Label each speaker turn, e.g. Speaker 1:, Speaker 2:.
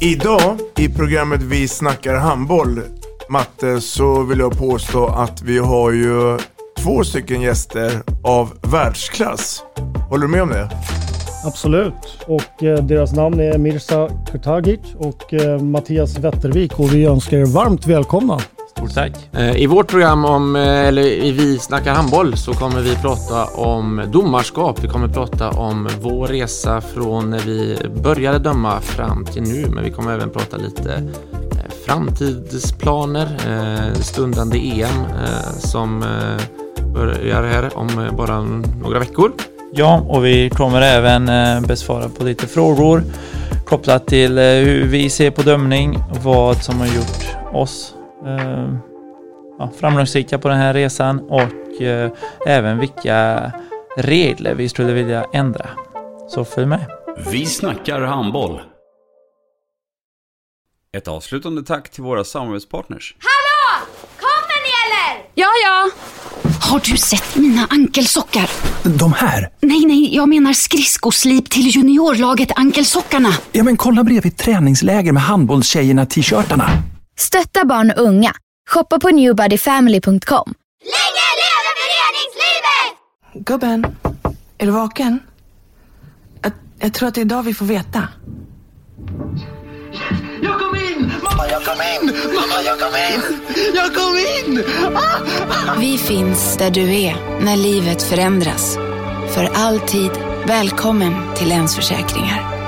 Speaker 1: Idag i programmet Vi snackar handboll, Matte, så vill jag påstå att vi har ju två stycken gäster av världsklass. Håller du med om det?
Speaker 2: Absolut. Och eh, deras namn är Mirza Kurtagic och eh, Mattias Wettervik och vi önskar er varmt välkomna.
Speaker 3: Stort tack. I vårt program om, eh, eller i Vi snackar handboll så kommer vi prata om domarskap. Vi kommer prata om vår resa från när vi började döma fram till nu. Men vi kommer även prata lite eh, framtidsplaner, eh, stundande EM eh, som eh, börjar här om eh, bara några veckor.
Speaker 4: Ja, och vi kommer även eh, besvara på lite frågor kopplat till eh, hur vi ser på dömning och vad som har gjort oss eh, ja, framgångsrika på den här resan och eh, även vilka regler vi skulle vilja ändra. Så följ med!
Speaker 5: Vi snackar handboll. Ett avslutande tack till våra samarbetspartners.
Speaker 6: Hallå! Kommer ni eller?
Speaker 7: Ja, ja. Har du sett mina ankelsockar?
Speaker 8: De här?
Speaker 7: Nej, nej, jag menar skridskoslip till juniorlaget Ankelsockarna.
Speaker 8: Ja, men kolla bredvid träningsläger med handbollstjejerna-t-shirtarna.
Speaker 9: Stötta barn och unga. Shoppa på newbodyfamily.com.
Speaker 6: Länge leve föreningslivet!
Speaker 10: Gubben, är du vaken? Jag, jag tror att det är idag vi får veta.
Speaker 11: Jag kom in! Mamma, jag kom in! Mamma, jag kom in! Jag kom in! Ah!
Speaker 7: Vi finns där du är när livet förändras. För alltid välkommen till Länsförsäkringar.